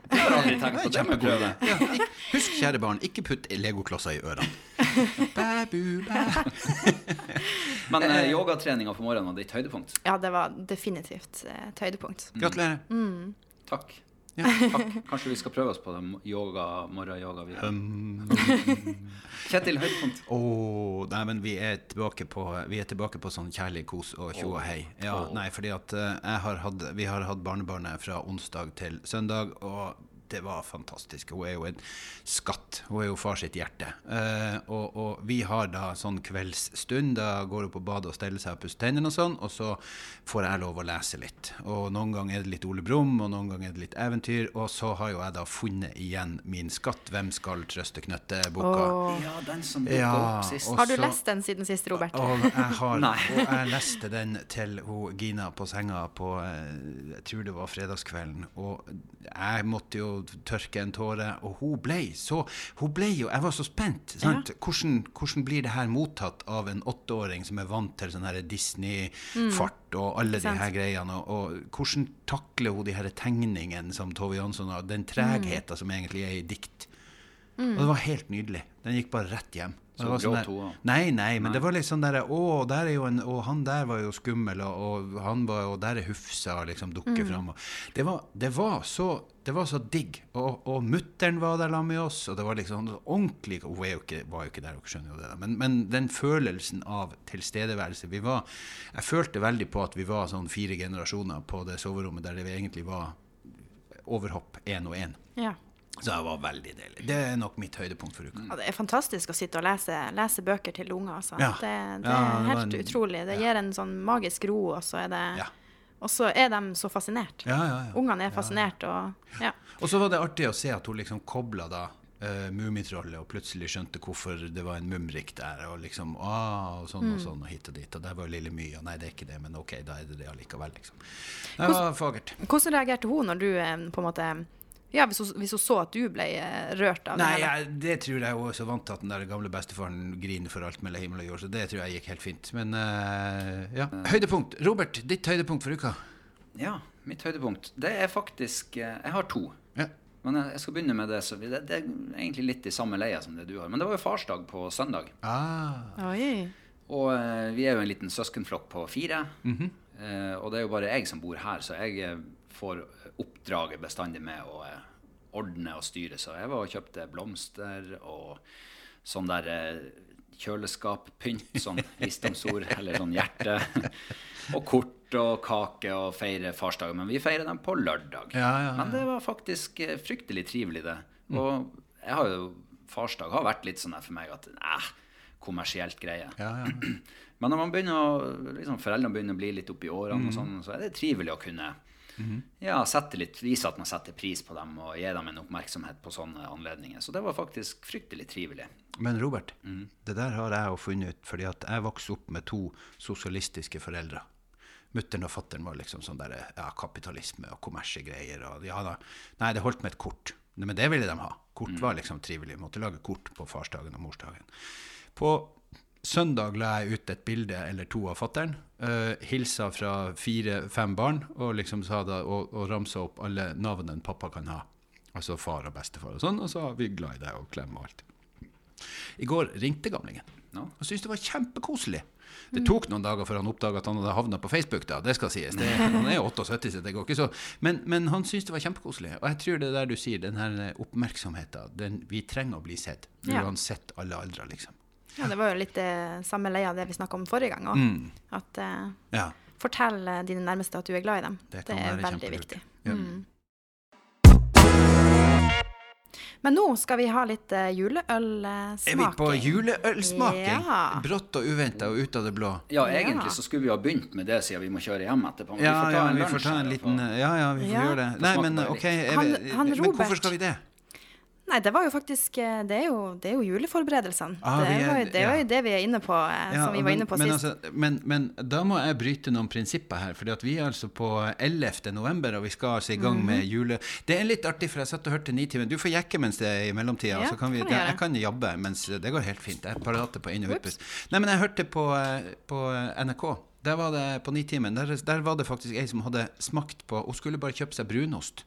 B: Det har jeg aldri tenkt på, det må jeg prøve.
A: Ja, ikk- Husk, kjære barn, ikke putt legoklosser i ørene. Bæ, bu, bæ.
B: Men eh, yogatreninga på morgenen var ditt høydepunkt.
C: Ja, det var definitivt eh, et høydepunkt.
A: Gratulerer.
B: Takk.
A: Ja.
B: Takk. Kanskje vi skal prøve oss på det mo- yoga, morgenyoga vi Kjetil, høydepunkt.
A: Åh, nei, men vi er tilbake på, vi er tilbake på sånn kjærlig kos og tjo og hei. Ja, nei, fordi at eh, jeg har hatt, vi har hatt barnebarnet fra onsdag til søndag, og det var fantastisk. Hun er jo en skatt. Hun er jo far sitt hjerte. Eh, og, og vi har da sånn kveldsstund. Da går hun på badet og steller seg og pusser tennene og sånn, og så får jeg lov å lese litt. Og noen ganger er det litt Ole Brumm, og noen ganger er det litt eventyr. Og så har jo jeg da funnet igjen min skatt. 'Hvem skal trøste knøtte'-boka.
C: Og,
B: Ja, den som dukka
A: Ja,
B: opp sist.
A: og
C: har du
A: så-
C: lest den siden sist, Robert?
A: Og jeg, har,
B: Nei.
A: og jeg leste den til hun, Gina på senga på eh, jeg tror det var fredagskvelden. Og jeg måtte jo tørke en tåre, og hun ble så hun ble jo, Jeg var så spent. sant? Hvordan, hvordan blir det her mottatt av en åtteåring som er vant til sånn her Disney-fart og alle de
C: sant.
A: her greiene? Og, og hvordan takler hun de her tegningene som Tove Jansson har?
C: Mm.
A: Den tregheten som egentlig er i dikt. Og det var helt nydelig. Den gikk bare rett hjem. Og
B: Så
A: det var sånn
B: gråt
A: der-
B: hun også?
A: Nei, nei, men det var litt sånn derre Å, der er jo en Og han der var jo skummel, og, og han var Og der er Hufsa, liksom, dukker fram. Og det, var, det var så det var så digg. Og, og mutter'n var der sammen med oss, og det var liksom ordentlig Hun er jo ikke, var jo ikke der, dere skjønner jo det, da. Men, men den følelsen av tilstedeværelse vi var Jeg følte veldig på at vi var sånn fire generasjoner på det soverommet der det egentlig var overhopp én og én.
C: Ja.
A: Så det var veldig deilig. Det er nok mitt høydepunkt for uka.
C: Ja, det er fantastisk å sitte og lese, lese bøker til unger. Altså.
A: Ja.
C: Det, det
A: Ja,
C: er
A: det var
C: helt
A: en-
C: utrolig. Det gir en sånn magisk ro, og så er, det,
A: Ja.
C: og så er de så fascinert.
A: Ja, ja, ja.
C: Ungene er fascinert, og ja.
A: Og så var det artig å se at hun liksom kobla da eh, Mummitrollet og plutselig skjønte hvorfor det var en mumrik der. Og liksom ah, og sånn og sånn og hit og dit. Og der var jo Lille My, og nei, det er ikke det, men ok, da er det det allikevel, liksom. Det var fagert.
C: Hvordan reagerte hun når du eh, på en måte ja, hvis, hun, hvis hun så at du ble eh, rørt av
A: Nei,
C: det? her,
A: jeg, det tror jeg hun er så vant til at den der gamle bestefaren griner for alt mellom himmel og jord, så det tror jeg gikk helt fint. Men eh, ja. Høydepunkt. Robert, ditt høydepunkt for uka?
B: Ja, mitt høydepunkt. Det er faktisk eh, Jeg har to.
A: Ja.
B: Men jeg jeg skal begynne med det. Så vi- det, det er egentlig litt i samme leia som det du har. Men det var jo farsdag på søndag.
A: Ah.
C: da? Oi.
B: Og eh, vi er jo en liten søskenflokk på fire. Eh, og det er jo bare jeg som bor her, så jeg eh, får oppdraget bestandig med å eh, ordne og styre. Så jeg var og kjøpte blomster og sånn der eh, kjøleskappynt, sånn visdomsord eller sånn hjerte. og kort og kake og feire farsdagen. Men vi feirer dem på lørdag.
A: Ja, ja, ja.
B: Men det var faktisk eh, fryktelig trivelig, det. Og jeg har jo, farsdag har vært litt sånn her for meg at eh, kommersielt greie.
A: Ja, ja.
B: Men når man begynner å, liksom, foreldrene begynner å bli litt oppi årene,
A: Mm.
B: og sånn, så er det trivelig å kunne
A: Mm-hmm.
B: ja, sette litt, vise at man setter pris på dem og gi dem en oppmerksomhet på sånne anledninger. Så det var faktisk fryktelig trivelig.
A: Men Robert, det der har jeg jo funnet ut, fordi at jeg vokste opp med to sosialistiske foreldre. Mutteren og fatteren var liksom sånn der, ja, kapitalisme og kommersegreier. Og, ja, da. Nei, det holdt med et kort. Nei, men det ville de ha. Kort var liksom trivelig. Måtte lage kort på farsdagen og morsdagen. På søndag la jeg ut et bilde eller to av fatteren. eh, hilsa fra fire-fem barn og liksom sa da, og, og ramsa opp alle navnene pappa kan ha. Altså far og bestefar og sånn. Og så vi er glad i deg og klem og alt. I går ringte gamlingen
B: Ja.
A: og syntes det var kjempekoselig.
C: Mm.
A: Det tok noen dager før han oppdaga at han hadde havna på Facebook. da, det skal sies. Det, han er jo 78, så det går ikke så. Men, men han syntes det var kjempekoselig. Og jeg tror det der du sier, den her oppmerksomheten den, Vi trenger å bli sett,
C: Ja.
A: uansett alle aldre, liksom.
C: Ja, det var jo litt det samme leia av det vi snakka om forrige gang
A: Mm.
C: òg. At eh,
A: Ja,
C: fortell eh, dine nærmeste at du er glad i dem.
A: det
C: Det,
A: kan
C: er
A: være
C: veldig
A: kjempelurt.
C: viktig. Mm.
A: Ja.
C: Men nå skal vi ha litt
A: Er
C: uh,
A: vi på
C: juleølsmaking.
A: juleølsmaking?
C: Ja.
A: Brått og uventa og ut av det blå.
B: Ja,
C: Ja.
B: egentlig så skulle vi ha begynt med det siden vi må kjøre hjem etterpå. Men
A: Ja, ja, vi
B: lunsj
A: får ta
B: her,
A: en
B: da,
A: liten
B: for-
A: Ja, ja, vi får
C: Ja.
A: gjøre det.
B: Få
A: Nei,
B: smake
A: men
B: bare litt.
A: OK. Er vi,
C: Han- han
A: men
C: Robert-
A: hvorfor skal vi det?
C: Nei, det var jo faktisk eh, Det er jo, det er jo juleforberedelsene.
A: Ah,
C: det,
A: vi er-
C: var jo, det var
A: ja.
C: jo det vi er inne på, eh, som vi var inne på
A: men,
C: sist.
A: altså, men, men da må jeg bryte noen prinsipper her, fordi at vi er altså på 11. november, og vi skal altså i gang
C: Mhm.
A: med jule... Det er litt artig, for jeg satt og hørte Nitimen. Du får jekke mens det er i mellomtida.
C: Ja,
A: så kan vi,
C: kan jeg
A: jeg,
C: gjøre.
A: kan jabbe mens det går helt fint. Jeg prater på inn- og utpust. Nei, men jeg hørte på, eh, på eh, NRK. Der var det på Nitimen. Der, der var det faktisk ei som hadde smakt på Hun skulle bare kjøpe seg brunost.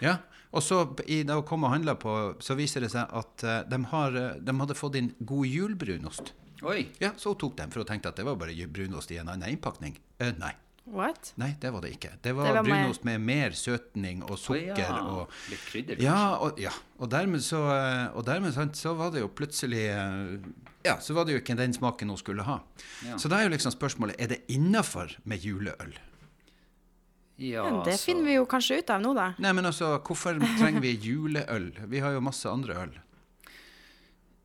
A: Ja, og så b- i, da hun kom og handla på, så viser det seg at eh, de, har, eh, de hadde fått inn god jul-brunost.
B: Oi,
A: Ja, så hun tok dem, for hun tenkte at det var bare brunost i en annen innpakning. Eh, nei.
C: What?
A: nei, det var det ikke. Det var,
C: Det var mer-
A: brunost med mer søtning og
B: Å ja,
A: sukker og
B: litt krydder.
A: ja, og, ja. og dermed, så, eh, og dermed sant, så var det jo plutselig eh, Ja, så var det jo ikke den smaken hun skulle ha.
B: Ja.
A: Så da er jo liksom spørsmålet er det innafor med juleøl.
B: Ja,
C: Men det
A: Altså-
B: så-
C: finner vi jo kanskje ut av nå, da.
A: Nei, men altså, hvorfor trenger vi juleøl? Vi har jo masse andre øl.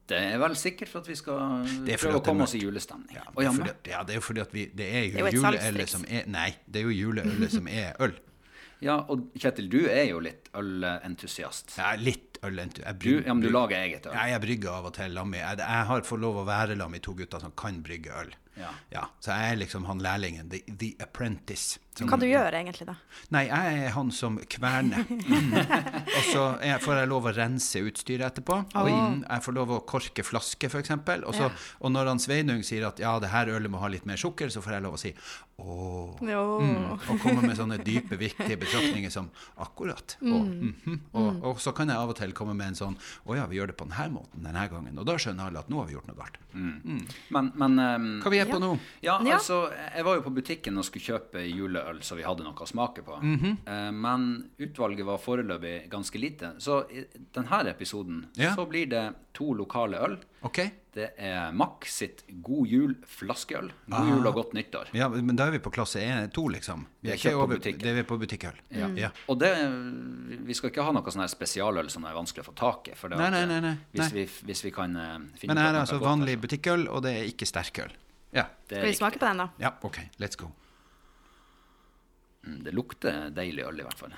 B: Det er vel sikkert for at vi skal
A: Det er fordi
B: prøve
A: at det
B: å
A: er
B: komme oss i
A: mørkt.
B: julestemning.
A: Ja,
B: Å,
A: det er, fordi,
B: men-
A: at- ja, det er jo fordi at vi, det er
C: Det er
A: jo,
C: jo et
A: juleølet
C: salgstriks.
A: som er Nei, det er jo juleølet som er øl.
B: ja, og Kjetil, du er jo litt ølentusiast.
A: Jeg er litt ølentu. Jeg
B: Du,
A: brygger,
B: ja, men du lager eget øl.
A: Nei, jeg brygger av og til. lam i- Jeg, jeg har fått lov å være lam i to gutter som kan brygge øl.
B: Ja.
A: så jeg er liksom han lærlingen, the, the apprentice. Som,
C: Hva du gjør egentlig, da?
A: nei, jeg er han som kverner. og så er, får jeg lov å rense utstyret etterpå. Og mm, jeg får lov å korke flasker, f.eks. Og, så- og når han Sveinung sier at ja, det her ølet må ha litt mer sukker, så får jeg lov å si åh.
C: Jo.
B: Mm.
A: Og komme med sånne dype, viktige betraktninger som akkurat.
B: Mm.
A: Og, mhm, og, og så kan jeg av og til komme med en sånn Å ja, vi gjør det på denne måten denne gangen. Og da skjønner alle at nå har vi gjort noe galt.
B: Men, men ehm,
A: Hva vi er på nå?
B: Mm. ja,
C: Ja.
B: altså, jeg var jo på butikken og skulle kjøpe juleøl, så vi hadde noe å smake på.
A: Mhm.
B: Eh, Men utvalget var foreløpig ganske lite. Så i denne episoden
A: Ja.
B: så blir det to lokale øl.
A: OK?
B: Det er Mack sitt God jul flaskeøl.
A: Ah.
B: God jul og godt nyttår.
A: Ja, men da er vi på klasse 2, liksom. Vi er
B: Vi er
A: ikke
B: kjøpt på
A: over,
B: butikken.
A: det er vi på butikkøl. Ja. Ja.
B: Og det, vi skal ikke ha noe sånn her spesialøl som er vanskelig å få tak i. For det
A: Nei,
B: at,
A: nei,
B: eh,
A: nei, nei.
B: Hvis,
A: Nei.
B: Vi, hvis vi kan eh, finne
A: Men
B: ut
A: her
B: at
A: er
B: noe
A: altså
B: godt,
A: vanlig butikkøl, og det er ikke sterkøl. Ja.
B: Det, er
C: Skal vi
B: riktig.
C: smake på den, da?
A: ja. OK, let's go.
B: Mm, det lukter deilig øl, i hvert fall.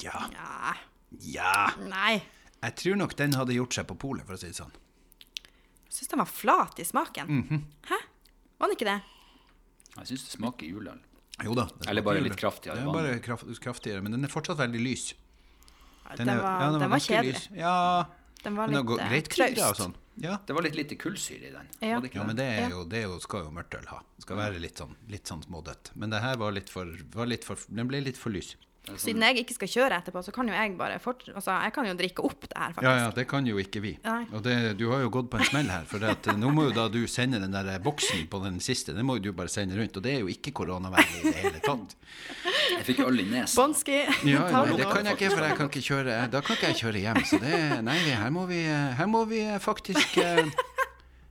A: Ja.
C: Ja.
A: Ja.
C: Nei.
A: Jeg tror nok den hadde gjort seg på polet, for å si det sånn.
C: Jeg syns den var flat i smaken.
A: Mhm.
C: Hæ? Var den ikke det?
B: Jeg syns det smaker juleøl.
A: Jo da. det
B: Eller bare
A: smaker
B: litt
A: jul.
B: kraftigere
A: Ja,
B: vann.
A: bare kraft, kraftigere, men den er fortsatt veldig lys.
C: Den,
A: er-
C: var,
A: ja,
C: den var,
A: ganske
C: kjedelig.
A: lys. Ja,
C: Den var
A: men det
C: litt
A: går
C: eh,
A: greit krydder og
C: traust.
A: sånn. Ja.
B: Det var litt lite kullsyre i den.
C: Ja.
B: var det ikke
A: ja, men
B: det?
A: det,
C: Ja.
A: er jo, det er jo, skal jo mørtøl ha. Det skal være litt sånn, litt sånn smådødt. Men det her var litt for, var litt for Den ble litt for lys.
B: Det er sånn-
C: Siden jeg ikke skal kjøre etterpå, så kan jo jeg bare fort, altså, jeg kan jo drikke opp det her, faktisk.
A: Ja, ja, det kan jo ikke vi.
C: Nei.
A: Og det, du har jo gått på en smell her, for det at, eh, nå må jo da du sende den der eh, boksen på den siste. Den må jo du bare sende rundt, og det er jo ikke koronavennlig i det hele tatt.
B: Jeg fikk øl i nesen.
C: Bånski.
A: Ja,
C: ta
A: ja,
C: den
A: det
C: nå.
A: kan jeg ikke, for jeg kan ikke kjøre, eh, da kan ikke jeg kjøre hjem. Så det, nei, her må vi, eh, her må vi faktisk eh,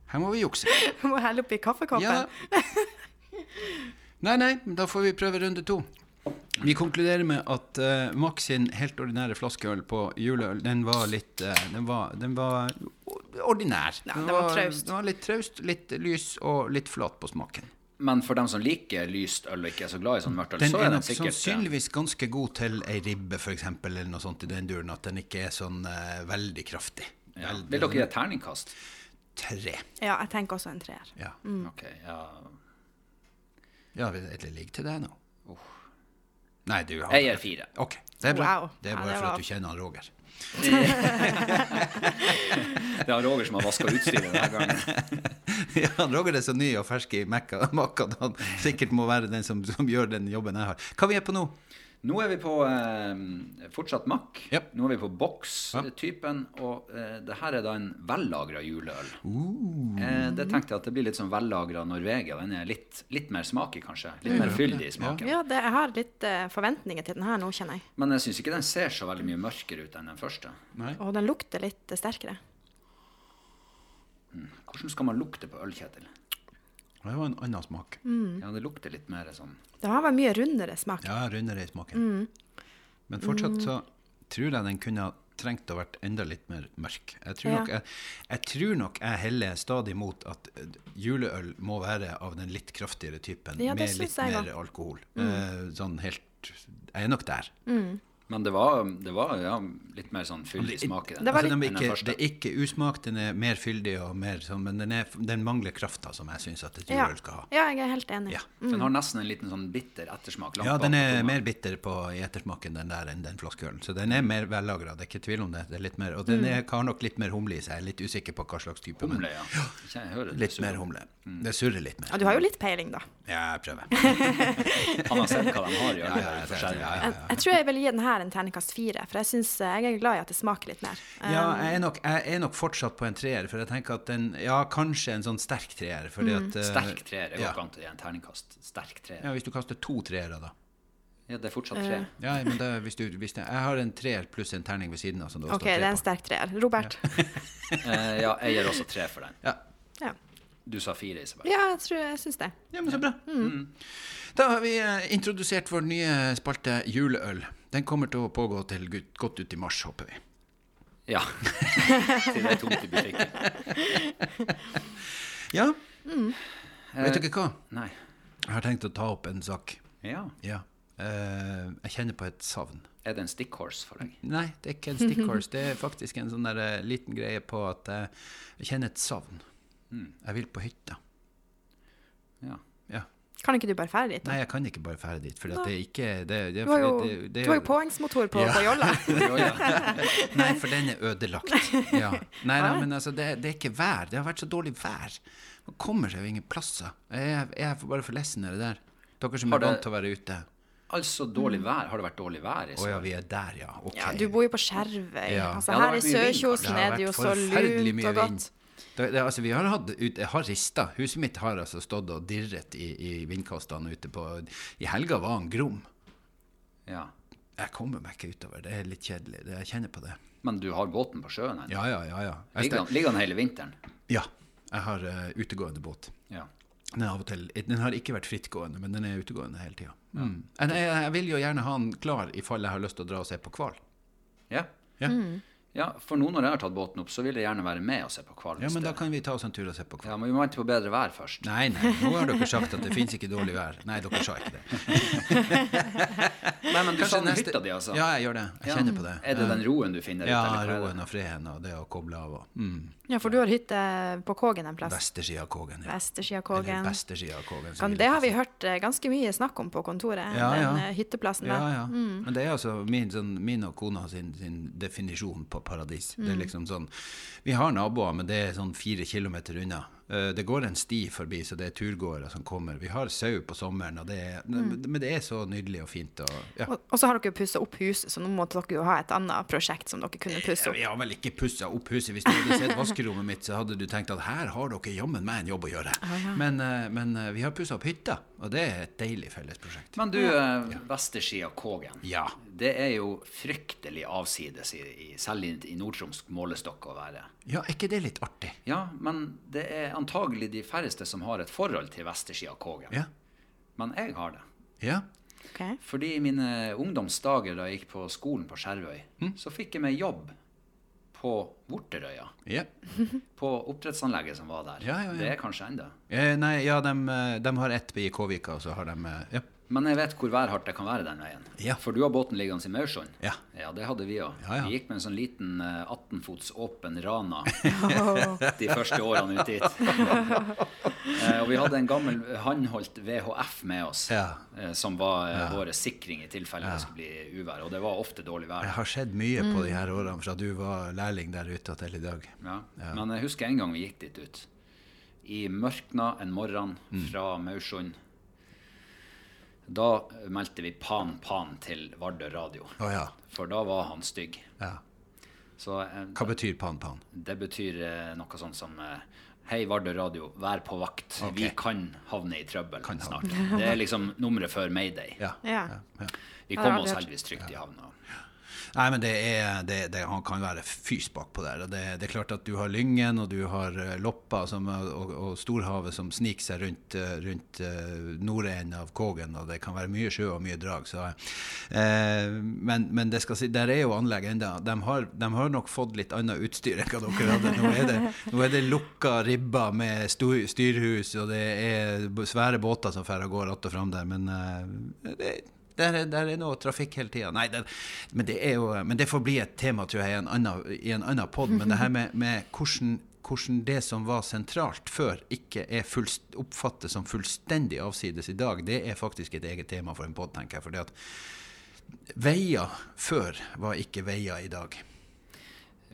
A: Her må vi jukse.
C: Må helle oppi kaffekoppen.
A: Ja. Nei, nei, da får vi prøve runde to. Vi konkluderer med at eh, Max sin helt ordinære flaskeøl på juleøl, den var litt eh, den, var, den var ordinær.
C: Ja, den var traust.
A: Den var litt traust, litt lys og litt flat på smaken.
B: Men for dem som liker lyst øl og ikke er så glad i sånn mørkt øl,
A: Den
B: så
A: er
B: er den
A: nok
B: sikkert
A: sannsynligvis ganske god til ei ribbe, f.eks., eller noe sånt i den duren, at den ikke er sånn eh, veldig kraftig.
B: ja.
A: Veldig- sånn-
B: Vil dere gi et terningkast?
A: Tre.
C: Ja, jeg tenker også en treer.
A: Ja.
C: Mm.
B: Ok, ja.
A: ja, vi- det ligger til deg nå. Nei, du har
B: Jeg gir fire.
A: Ok, det er bra.
C: Wow.
A: Det er
C: Ja,
A: bare
C: det
A: for
C: var-
A: at du kjenner han Roger.
B: Det er Roger som har vaska utstyret denne gangen.
A: ja, han Roger er så ny og fersk i Mekka Makka at han sikkert må være den som, som gjør den jobben jeg har. Hva vi er på nå?
B: Nå er vi på eh, fortsatt makk.
A: Ja.
B: Nå er vi på boks-typen, og eh, det her er da en vellagra juleøl.
A: Uh.
B: Eh, det tenkte jeg at det blir litt sånn vellagra Norvegia. Den er litt, litt mer smak i, kanskje. Litt mer fyldig i smaken.
C: Ja, det, jeg har litt eh, forventninger til den her nå, kjenner jeg.
B: Men jeg syns ikke den ser så veldig mye mørkere ut enn den første.
C: Og den lukter litt eh, sterkere.
B: Hvordan skal man lukte på øl, Kjetil?
A: Det var en annen smak.
C: Mm.
B: Ja, det lukter litt mer sånn
C: Det har vært mye rundere smak.
A: Ja, rundere i smaken.
C: Mm.
A: Men fortsatt så tror jeg den kunne ha trengt å vært enda litt mer mørk. Jeg tror,
C: Ja.
A: nok, jeg, jeg, tror nok jeg heller stadig mot at eh, juleøl må være av den litt kraftigere typen,
C: Ja, det
A: med
C: synes
A: litt
C: jeg Mm.
A: mer alkohol. Eh, sånn helt Jeg er nok der.
B: Men det var, det var ja, litt mer sånn fyldig smak i den.
C: Det var
A: altså, den
B: litt-
A: er
B: den
A: ikke,
B: første.
A: det er ikke usmak, den er mer fyldig, og mer, sånn, men den, er, den mangler krafta som jeg syns at et
C: Ja.
A: juleøl skal ha.
C: ja, jeg er helt enig.
A: Ja.
B: For Den har nesten en liten sånn bitter ettersmak. langt
A: Ja,
B: bak
A: den
B: på
A: er
B: tunga.
A: mer bitter på, i ettersmaken den der enn den flaskeølen. Så den er
C: Mm.
A: mer vellagra, det er ikke tvil om det. det er litt mer, og den er, har nok litt mer humle i seg. Jeg er litt usikker på hva slags type,
B: Humle, Mm.
A: men
B: ja. Ikke jeg hører det
A: litt
B: surrer.
A: mer humle. Det surrer litt mer.
C: Og du har jo litt peiling, da.
A: Ja, jeg prøver.
B: Han har sett hva de har i
A: Ja, ja, jeg
B: ølet.
A: ser det, ja, ja,
C: Jeg, jeg tror jeg vil gi den her en terningkast fire, for jeg synes, eh, jeg er glad i at det smaker litt mer. Eh,
A: Ja, jeg er, nok, jeg er nok fortsatt på en treer, for jeg tenker at den Ja, kanskje en sånn sterk treer, fordi
C: Mm.
A: at eh,
B: Sterk treer. Det går
A: ja.
B: ikke an til å gi en terningkast. Sterk treer.
A: Ja, hvis du kaster to treere, da.
B: Ja, det er fortsatt tre.
A: Ja, men det, hvis du, hvis det, jeg har en treer pluss en terning ved siden av. Som det også står
C: OK, det er
A: tre
C: en
A: på.
C: sterk treer. Robert?
B: Eh, ja, jeg gir også tre for den.
A: Ja.
C: Ja,
B: Du sa fire, Isabel.
C: ja jeg tror jeg syns det.
A: ja, men så bra.
C: Mm.
A: Mm. Da har vi eh, introdusert vår nye spalte juleøl. Den kommer til å pågå til gut- godt ut i mars, håper vi.
B: Ja. Til det er tomt i butikken.
A: Ja.
C: Mm.
A: Vet dere hva?
B: Nei.
A: Eh, Jeg har tenkt å ta opp en sak.
B: Ja.
A: Ja. Eh, jeg kjenner på et savn.
B: Er det en stickhorse for deg?
A: Nei, det er ikke en stickhorse. Det er faktisk en sånn der, eh, liten greie på at eh, jeg kjenner et savn. Mm. Jeg vil på hytta.
B: Ja.
A: Ja.
C: Kan ikke du bare fære dit? da?
A: Nei, jeg kan ikke bare fære dit, for at det er ikke det, det,
C: Du har jo,
A: det, det,
C: du har jo påhengsmotor på,
A: Ja.
C: på jolla.
B: Jo, ja.
A: Nei, for den er ødelagt. Ja. Nei, nei, men altså, det, det er ikke vær. Det har vært så dårlig vær. Man kommer seg jo ingen plasser. Jeg, jeg er bare for lessen av det der. Dere som
B: Har
A: er
B: det-
A: vant til å være ute.
B: Altså dårlig
C: Mm.
B: vær. Har det vært dårlig vær
A: Å
B: i
A: ja,
B: sommer?
A: vi er der, ja. Ok.
C: Ja, du bor jo på Skjervøy.
A: Ja.
C: Altså,
B: Ja, det har
C: her i
B: vært mye vind,
A: Det
C: Sørkjosen
A: har
C: er det jo
A: vært
C: så
A: forferdelig
C: lunt
A: mye
C: og godt.
A: vind. Det, det, altså, vi har hatt ut, Jeg har rista. Huset mitt har altså stått og dirret i, i vindkastene ute på I helga var han grom.
B: Ja.
A: Jeg kommer meg ikke utover. Det er litt kjedelig. Det, jeg kjenner på det.
B: Men du har båten på sjøen ennå?
A: Ja, ja, ja. ja. Jeg,
B: Ligger
A: ste-
B: den- ligger den hele vinteren?
A: ja. jeg har eh, utegående båt.
B: Ja.
A: Den, er av og til, den har ikke vært frittgående, men den er utegående hele tida. Mm. Men Jeg, jeg vil jo gjerne ha den klar i fall jeg har lyst til å dra og se på hval.
B: Ja.
A: Ja.
C: Mm.
B: ja, for nå når jeg har tatt båten opp, så vil jeg gjerne være med og se på hval.
A: ja,
B: hvis
A: men da
B: det-
A: kan vi ta oss en tur og se på hval.
B: ja, men vi må vente på bedre vær først.
A: Nei, nei, nå har dere sagt at det fins ikke dårlig vær. Nei, dere sa ikke det.
B: Nei, men du
A: Kanskje
B: savner
A: neste-
B: hytta di, altså?
A: Ja, jeg gjør det. Jeg
B: Ja.
A: kjenner på det.
B: Er det den roen du finner
A: Ja,
B: ut? eller hva er det?
A: roen og freden og det å koble av og mm,
C: Ja, for du har hytte på Kågen en plass.
A: Vestersida av Kågen. Ja.
C: Vestersida av
A: Eller
C: Kågen.
A: Vestersida av Kågen. som
C: Kan,
A: vi
C: det
A: liker å
C: har vi
A: si.
C: hørt eh, ganske mye snakk om på kontoret,
A: Ja,
C: den
A: ja.
C: eh, hytteplassen
A: Ja,
C: der.
A: ja. Men det er altså min, sånn, min og kona sin, sin definisjon på paradis. Det er liksom sånn Vi har naboer, men det er sånn fire kilometer unna. Eh, Det går en sti forbi, så det er turgåere som kommer. Vi har sau på sommeren, og det er, men det er så nydelig og fint. Og, ja.
C: Og, og så har dere jo pussa opp huset, så nå måtte dere jo ha et annet prosjekt som dere kunne pusse opp.
A: Vi har vel ikke pussa opp huset. Hvis du hadde sett vaskerommet mitt, så hadde du tenkt at her har dere jammen meg en jobb å gjøre. Men, eh, men eh, vi har pussa opp hytta, og det er et deilig fellesprosjekt.
B: Men du, eh, Vesterskia av Kågen.
A: Ja.
B: Det er jo fryktelig avsides, i, i, selv i, i nordtromsk målestokk, å være.
A: Ja, er ikke det litt artig?
B: Ja, men det er antagelig de færreste som har et forhold til Vesterskia av Kågen.
A: Ja.
B: Men jeg har det.
A: ja.
C: Ok.
B: Fordi i mine ungdomsdager da jeg gikk på skolen på Skjervøy,
A: Mm.
B: så fikk jeg meg jobb på Vorterøya.
A: ja.
B: På oppdrettsanlegget som var der.
A: Ja, ja, ja.
B: Det er kanskje enda.
A: Eh, nei, ja, de, har ett i Kåvika, og så har de eh, ja.
B: Men jeg vet hvor værhardt det kan være den veien.
A: Ja.
B: For du har båten liggende i Maursund.
A: Ja.
B: det hadde vi òg.
A: Ja, ja.
B: Vi gikk med en sånn liten eh, 18 fots åpen rana de første årene ut dit. Eh, og vi hadde en gammel håndholdt VHF med oss,
A: Ja.
B: eh, som var eh, vår sikring i tilfelle det skulle bli uvær. Og det var ofte dårlig vær.
A: Jeg har sett mye på de her årene fra du var lærling der ute og til i dag.
B: Ja. Men jeg husker en gang vi gikk dit ut. I mørkna en morgen
A: Mm.
B: fra Maursund. Da meldte vi pan pan til Vardø radio.
A: Å ja.
B: For da var han stygg.
A: ja.
B: Så eh,
A: Hva betyr pan-pan?
B: det betyr eh, noe sånn som eh, Hei, Vardø radio, vær på vakt.
A: Ok.
B: Vi kan havne i trøbbel
A: Kan havne.
B: snart. Det er liksom nummeret før mayday.
A: Ja.
C: Ja.
A: ja.
B: Vi
C: Ja,
B: kom
C: det
B: oss
C: har jeg
B: heldigvis trygt i havna.
A: Nei, men det er, det, det, han kan være fys bakpå der. og Det, det er klart at du har Lyngen og du har eh, Loppa som, og, og Storhavet som sniker seg rundt, eh, rundt eh, nordenden av Kågen, og det kan være mye sjø og mye drag. Så, eh, men, men det skal si, der er jo anlegg ennå. De, har- de har nok fått litt annet utstyr enn hva dere hadde. Nå er det, nå er det lukka ribber med sto- styrhus, og det er b- svære båter som fer og går att og fram der. men... eh, det der, er- der er noe trafikk hele tida. Nei, det, men, det er jo, men det får bli et tema tror jeg, i en annen, i en annen pod. Men det her med, med hvordan, hvordan det som var sentralt før, ikke er fullst, oppfattes som fullstendig avsides i dag, det er faktisk et eget tema for en pod, tenker jeg. fordi at veier før var ikke veier i dag.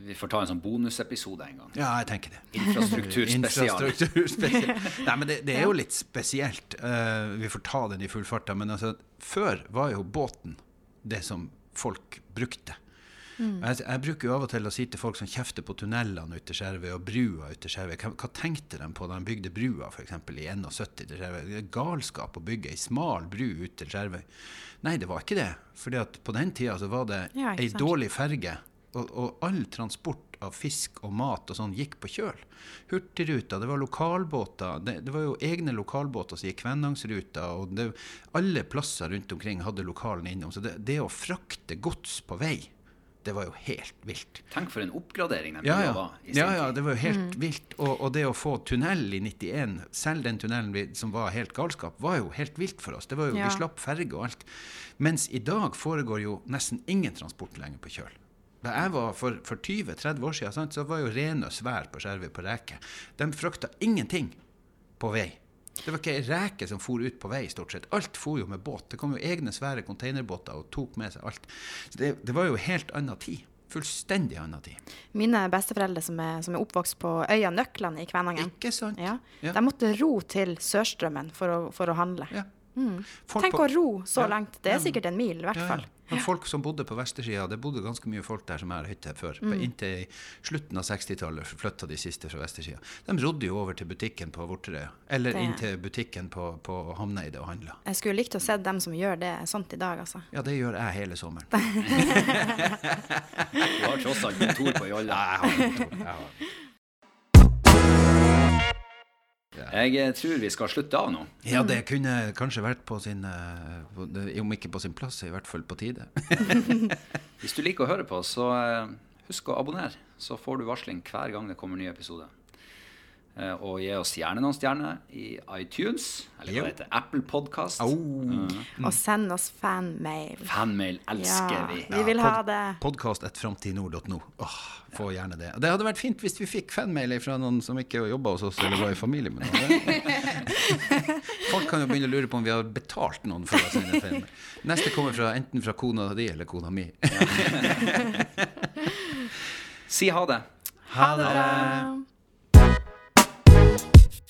B: Vi får ta en sånn bonusepisode en gang.
A: Ja, jeg tenker det.
B: Infrastrukturspesial.
A: Infrastrukturspesial. Nei, men det, det er jo litt spesielt. Eh, vi får ta den i full fart. da, Men altså, før var jo båten det som folk brukte.
C: Mm.
A: Jeg, jeg bruker jo av og til å si til folk som kjefter på tunnelene ute til Skjervøy og brua ute til Skjervøy, hva, hva tenkte de på da de bygde brua for eksempel, i 71 til Skjervøy? Det er galskap å bygge ei smal bru ut til Skjervøy. Nei, det var ikke det. Fordi at på den tida så var det
C: Ja, ikke
A: ei
C: sant.
A: dårlig dårlig ferge, og, og all transport av fisk og mat og sånn gikk på kjøl. Hurtigruta, det var lokalbåter, det, det var jo egne lokalbåter som gikk Kvennangsruta, og det, alle plasser rundt omkring hadde lokalen innom. Så det, det å frakte gods på vei, det var jo helt vilt.
B: Tenk for en oppgradering den
A: Ja,
B: byen
A: ja.
B: var i sin
A: ja, ja,
B: tid.
A: det var jo helt vilt. Og, og det å få tunnel i 91, selv den tunnelen vi, som var helt galskap, var jo helt vilt for oss. Det var jo,
C: Ja.
A: Vi slapp ferge og alt. Mens i dag foregår jo nesten ingen transport lenger på kjøl. Da jeg var for, for 20-30 år siden, sant, så var jo Renøs vær på Skjervøy på Reke. De frakta ingenting på vei. Det var ikke ei reke som for ut på vei, stort sett. Alt for jo med båt. Det kom jo egne svære containerbåter og tok med seg alt. Så det, det var jo helt anna tid. Fullstendig anna tid.
C: Mine besteforeldre som er, som er oppvokst på øya Nøklene i Kvænangen,
A: Ikke sant?
C: ja,
A: Ja.
C: de måtte ro til Sørstrømmen for å, for å handle.
A: Ja. Folk
C: Mm. Tenk
A: på-
C: å ro så
A: Ja.
C: langt. Det er sikkert en mil, i hvert
A: Ja,
C: fall.
A: ja. Men folk som bodde på vestersida, det bodde ganske mye folk der som jeg har hytte før. På
C: Mm.
A: Inntil i slutten av 60-tallet flytta de siste fra vestersida. De rodde jo over til butikken på Vorterøya, eller
C: Det-
A: inn til butikken på, på Hamneide og handla.
C: Jeg skulle likt å se dem som gjør det sånt i dag, altså.
A: Ja, det gjør jeg hele sommeren.
B: Du har tross alt kontor på jolla. Jeg eh, tror vi skal slutte av nå.
A: Ja, det kunne kanskje vært på sin eh, på- Om ikke på sin plass, i hvert fall på tide.
B: Hvis du liker å høre på, så eh, husk å abonnere. Så får du varsling hver gang det kommer nye episoder. Eh, Og gi oss gjerne noen stjerner i iTunes, eller
A: Jo.
B: hva det heter, Apple Podcast.
A: Mm.
C: Og send oss fanmail.
B: Fanmail elsker
C: Ja,
B: vi.
C: vi vil ha det.
A: Podkast.framtidnord.no. Åh, få gjerne det. Det hadde vært fint hvis vi fikk fanmail fra noen som ikke jobba hos oss eller var i familie med noen. Folk kan jo begynne å lure på om vi har betalt noen for å sende fanmail. Neste kommer fra enten fra kona di eller kona mi.
B: Si ha det.
A: Eh,
C: Ha det bra!